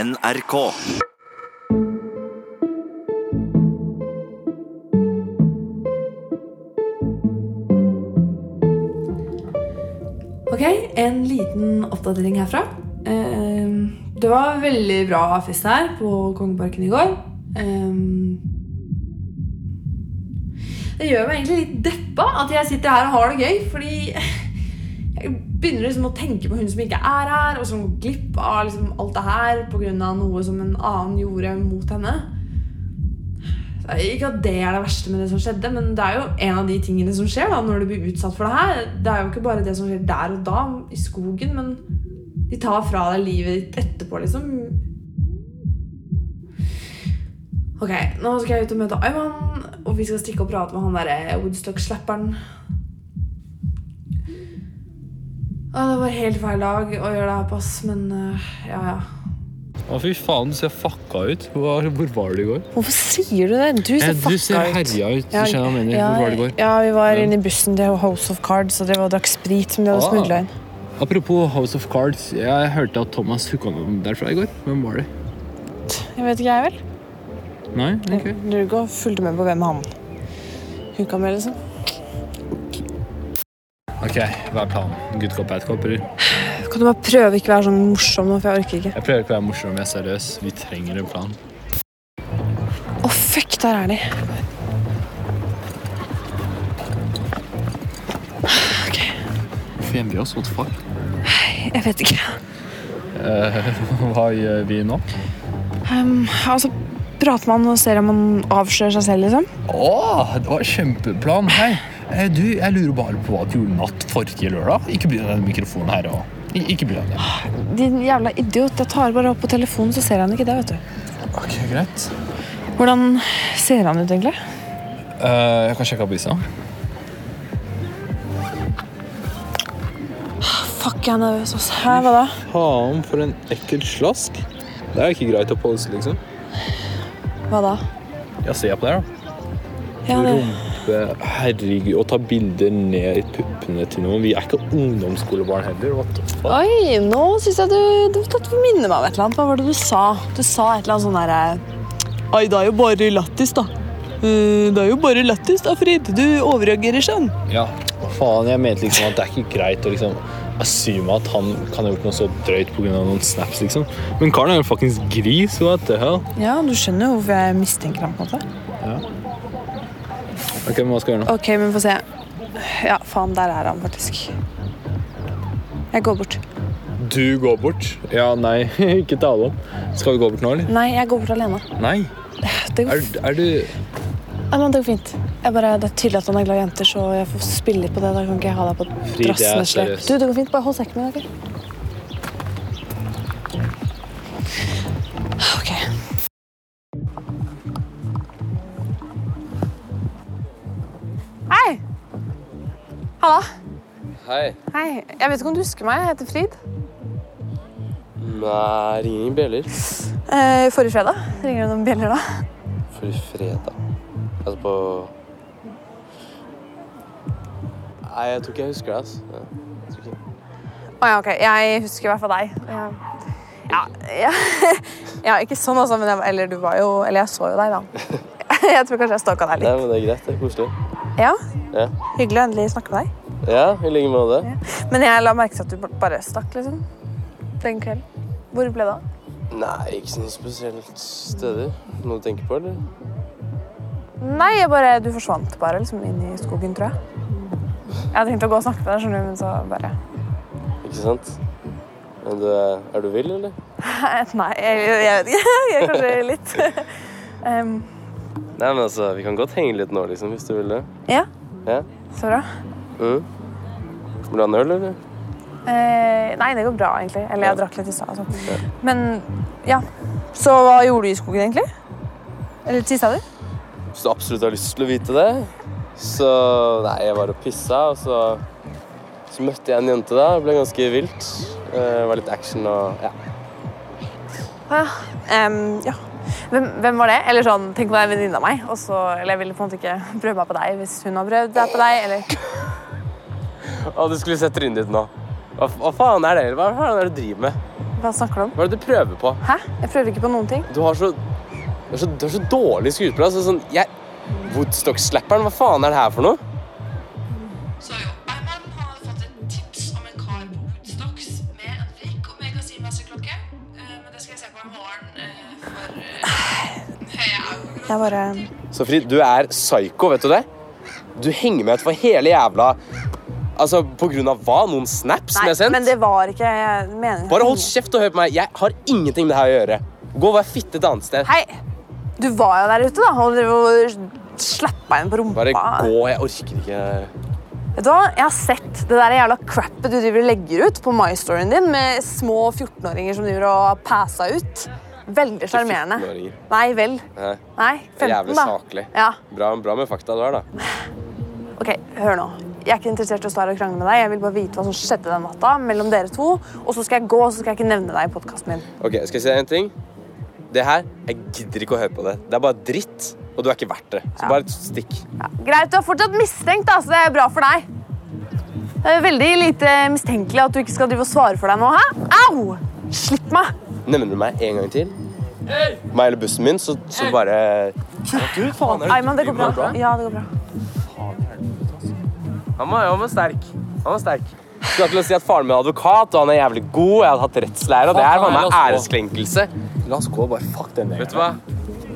NRK. Ok, en liten oppdatering herfra. Eh, Det var veldig bra fest her på Kongeparken i går. Eh, Det gjør meg egentlig litt deppa at jeg sitter her og har det gøy, fordi jeg begynner liksom å tenke på hun som ikke er her, og som går glipp av liksom alt det her pga. noe som en annen gjorde mot henne. Så Ikke at det er det verste med det som skjedde, men det er jo en av de tingene som skjer da når du blir utsatt for det her. Det er jo ikke bare det som skjer der og da, i skogen, men de tar fra deg livet ditt etterpå, liksom. Ok, nå skal jeg ut og møte Ayman, og vi skal stikke og prate med han derre Woodstock-slapperen. Å, det var helt feil dag å gjøre det her på, ass, men øh, ja, ja. Å, fy faen, du ser fucka ut. Hvor, hvor var du i går? Hvorfor sier du det? Du ser Eh, fucka du ser ut. herja ut. Du skjønner hva jeg mener. ja, Hvor var du i går? Ja, vi var Ja. inne i bussen til House of Cards og det var drakk sprit som de hadde Ah. smugla inn. Apropos House of Cards. Jeg hørte at Thomas hooka noen derfra i går. Hvem var det? Jeg vet ikke, jeg vel. Nei? Ok. Jeg Lurer ikke og fulgte med på hvem han hooka med, liksom. Ok, Hva er planen? Good cop, bad cop? Eller? Kan du bare prøve å ikke være sånn morsom nå, for jeg orker ikke. Jeg prøver ikke å være morsom, jeg er seriøs. Vi trenger en plan. Å, fuck, der er de. Hvorfor gjemmer vi oss? What the fuck? Jeg vet ikke. Eh, Hva gjør vi nå? Um, altså, prater man og ser om man avslører seg selv, liksom? Å, det var kjempeplan. Hei. Eh, Du, jeg lurer bare på hva du gjorde natt forrige lørdag. Ikke bry deg om den mikrofonen her. Og... I- Ikke bry deg om det. Din jævla idiot. Jeg tar bare opp på telefonen, så ser han ikke det, vet du. Ok, greit. Hvordan ser han ut, egentlig? Eh, jeg kan sjekke opp isa. Fuck, jeg er nervøs, altså. Hæ, hva da? Faen, for en ekkel slask. Det er jo ikke greit å pose, liksom. Hva da? Ja, se på det her, da. Ja, det... Rumpe, herregud, å ta bilder ned i puppene til noen. Vi er ikke ungdomsskolebarn heller. What the fuck? Oi, nå syns jeg du, du, du minner meg om et eller annet. Hva var det du sa? Du sa et eller annet sånn eh, derre Oi, det er jo bare lættis, da. Eh, Det er jo bare lættis, da, Frid. Du overreagerer sånn. Ja, faen, jeg mente liksom at det er ikke greit å liksom assume at han kan ha gjort noe så drøyt pga. noen snaps, liksom. Men karen er jo fuckings gris. What the hell? Ja, du skjønner jo hvorfor jeg mistenker ham, på en måte. Ok, men hva skal jeg gjøre nå? OK, men få se. Ja, faen, der er han faktisk. Jeg går bort. Du går bort? Ja, nei, ikke tale om. Skal vi gå bort nå, eller? Nei, jeg går bort alene. Nei. Det går, Er, er du Nei, men det går fint. Jeg bare, det er tydelig at han er glad i jenter, så jeg får spille litt på det. Da kan ikke jeg ha deg på Frid, jeg er drassen et slep. seriøs. Du, det går fint. Bare hold sekken min, OK? OK. Hei! Halla. Hei. Hei. Jeg vet ikke om du husker meg. Jeg heter Frid. Nei, ringer ingen bjeller. Eh, forrige fredag ringer du noen bjeller da? For fredag. Altså på Nei, jeg tror ikke jeg husker det, altså. ass. Ja, jeg tror ikke. Å ja, ok. Jeg husker i hvert fall deg. Ja, ja, ja ikke sånn altså, men jeg, var- eller, du var jo, eller jeg så jo deg, da. Jeg tror kanskje jeg stalka deg Nei, litt. men det er greit. Det er koselig. Ja, Ja, Hyggelig å endelig snakke med deg. ja i like måte. Men jeg la merke til at du b- bare stakk, liksom. Den kvelden. Hvor ble det av? Nei, ikke sånn spesielt steder. Noe du tenker på, eller? Nei, jeg bare, du forsvant bare liksom inn i skogen, tror jeg. Jeg hadde tenkt å gå og snakke med deg, skjønner du, men så bare Ikke sant? Men du, er du vill, eller? Nei, jeg, jeg vet ikke. Jeg er kanskje litt Em, Nei, men altså, vi kan godt henge litt nå, liksom, hvis du vil det. Ja, Ja? så bra. Mm. Vil du ha en øl, eller? Eh, nei, det går bra, egentlig. Eller jeg Ja. drakk litt i stad. Altså. Ja. Men ja. Så hva gjorde du i skogen, egentlig? Eller tissa du? Hvis du absolutt har lyst til å vite det. Så Nei, jeg var og pissa, og så, så møtte jeg en jente da. Det ble ganske vilt. Eh, Det var litt action og ja. Ah, ja. Em, ja. Hvem, hvem var det? Eller sånn, Tenk om det er en venninne av meg. Og så, eller jeg ville på en måte ikke prøve meg på deg hvis hun har prøvd seg på deg. Eller Å, du skulle sett trynet ditt nå. Hva, hva faen er det? Hva faen er det du driver med? Hva snakker du om? Hva er det du prøver på? Hæ? Jeg prøver ikke på noen ting. Du har så Du er så, du er så dårlig skuespiller. Altså, sånn, jeg Woodstock-slapperen, hva faen er det her for noe? Så jo, Eimann han hadde fått et tips om en kar på Woodstocks med en prikk og magasinmesseklokke. Eh, Men det skal jeg se på i morgen, eh, for eh, jeg er jo Jeg bare Så Frid, du er psycho, vet du det? Du henger med for hele jævla Altså, på grunn av hva? Noen snaps som jeg har sendt? men det var ikke jeg meningen. Bare hold kjeft og hør på meg. Jeg har ingenting med det her å gjøre. Gå og vær fitte et annet sted. Hei! Du var jo der ute, da. Og du slappa inn på rumpa. Bare gå. Jeg orker ikke. Vet du hva? Jeg har sett det der jævla crappet du driver og legger ut på MyStoryen din med små 14-åringer som driver og passa ut. Veldig sjarmerende. 14-åringer. Nei vel. Nei. Nei, 15, da. Jævlig saklig. Ja, Bra, bra med fakta du har, da. ok, Hør nå. Jeg er ikke interessert i å stå her og krangle med deg. Jeg vil bare vite hva som skjedde den natta mellom dere to. Og så skal jeg gå, og så skal jeg ikke nevne deg i podkasten min. Ok, Skal jeg si deg en ting? Det her Jeg gidder ikke å høre på det. Det er bare dritt, og du er ikke verdt det. Så bare stikk. Ja, greit, du er fortsatt mistenkt, da, så det er bra for deg. Det er veldig lite mistenkelig at du ikke skal drive og svare for deg nå. Hæ? Au! Slipp meg! Nevner du meg en gang til, meg eller bussen min, så, så bare Du, faen, Eiman, det går bra. Ja, det går bra. Han var, han var sterk. Han var sterk. Skulle til å si at Faren min er advokat, og han er jævlig god. Jeg hadde hatt rettslære, og det her var med æreskrenkelse. La oss gå, bare fuck den Vet du hva?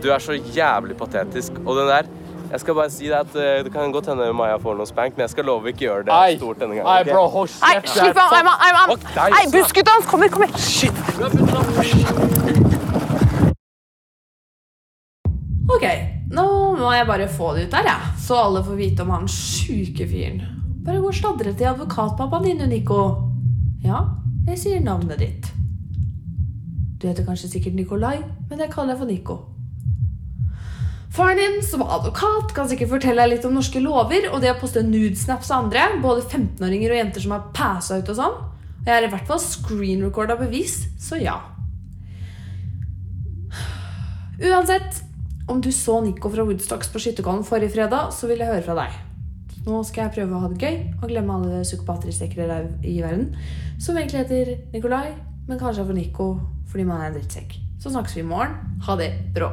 Du er så jævlig patetisk. Og den der Jeg skal bare si deg at eh, det kan godt hende Maja får noe spank, men jeg skal love ikke gjøre det stort denne gangen. ok? hold Nei, slipp ham! Eiman! Eiman. Fuck deg, Nei, altså. bussgutta hans kommer! Kom her! Ok, nå må jeg bare få det ut der, jeg. Så alle får vite om han sjuke fyren. Bare gå og sladre til advokatpappaen din, du, Nico. Ja, jeg sier navnet ditt. Du heter kanskje sikkert Nikolai, men jeg kaller deg for Nico. Faren din, som er advokat, kan sikkert fortelle deg litt om norske lover og det å poste nudesnaps av andre, både 15-åringer og jenter som er passa ut og sånn. Og jeg er i hvert fall screenrecorda bevis, så ja. Uansett, om du så Nico fra Woodstocks på Skytterkollen forrige fredag, så vil jeg høre fra deg. Nå skal jeg prøve å ha det gøy og glemme alle psykopatrestrikkere der i verden som egentlig heter Nikolai, men kanskje er for Nico fordi man er en drittsekk. Så snakkes vi i morgen. Ha det bra.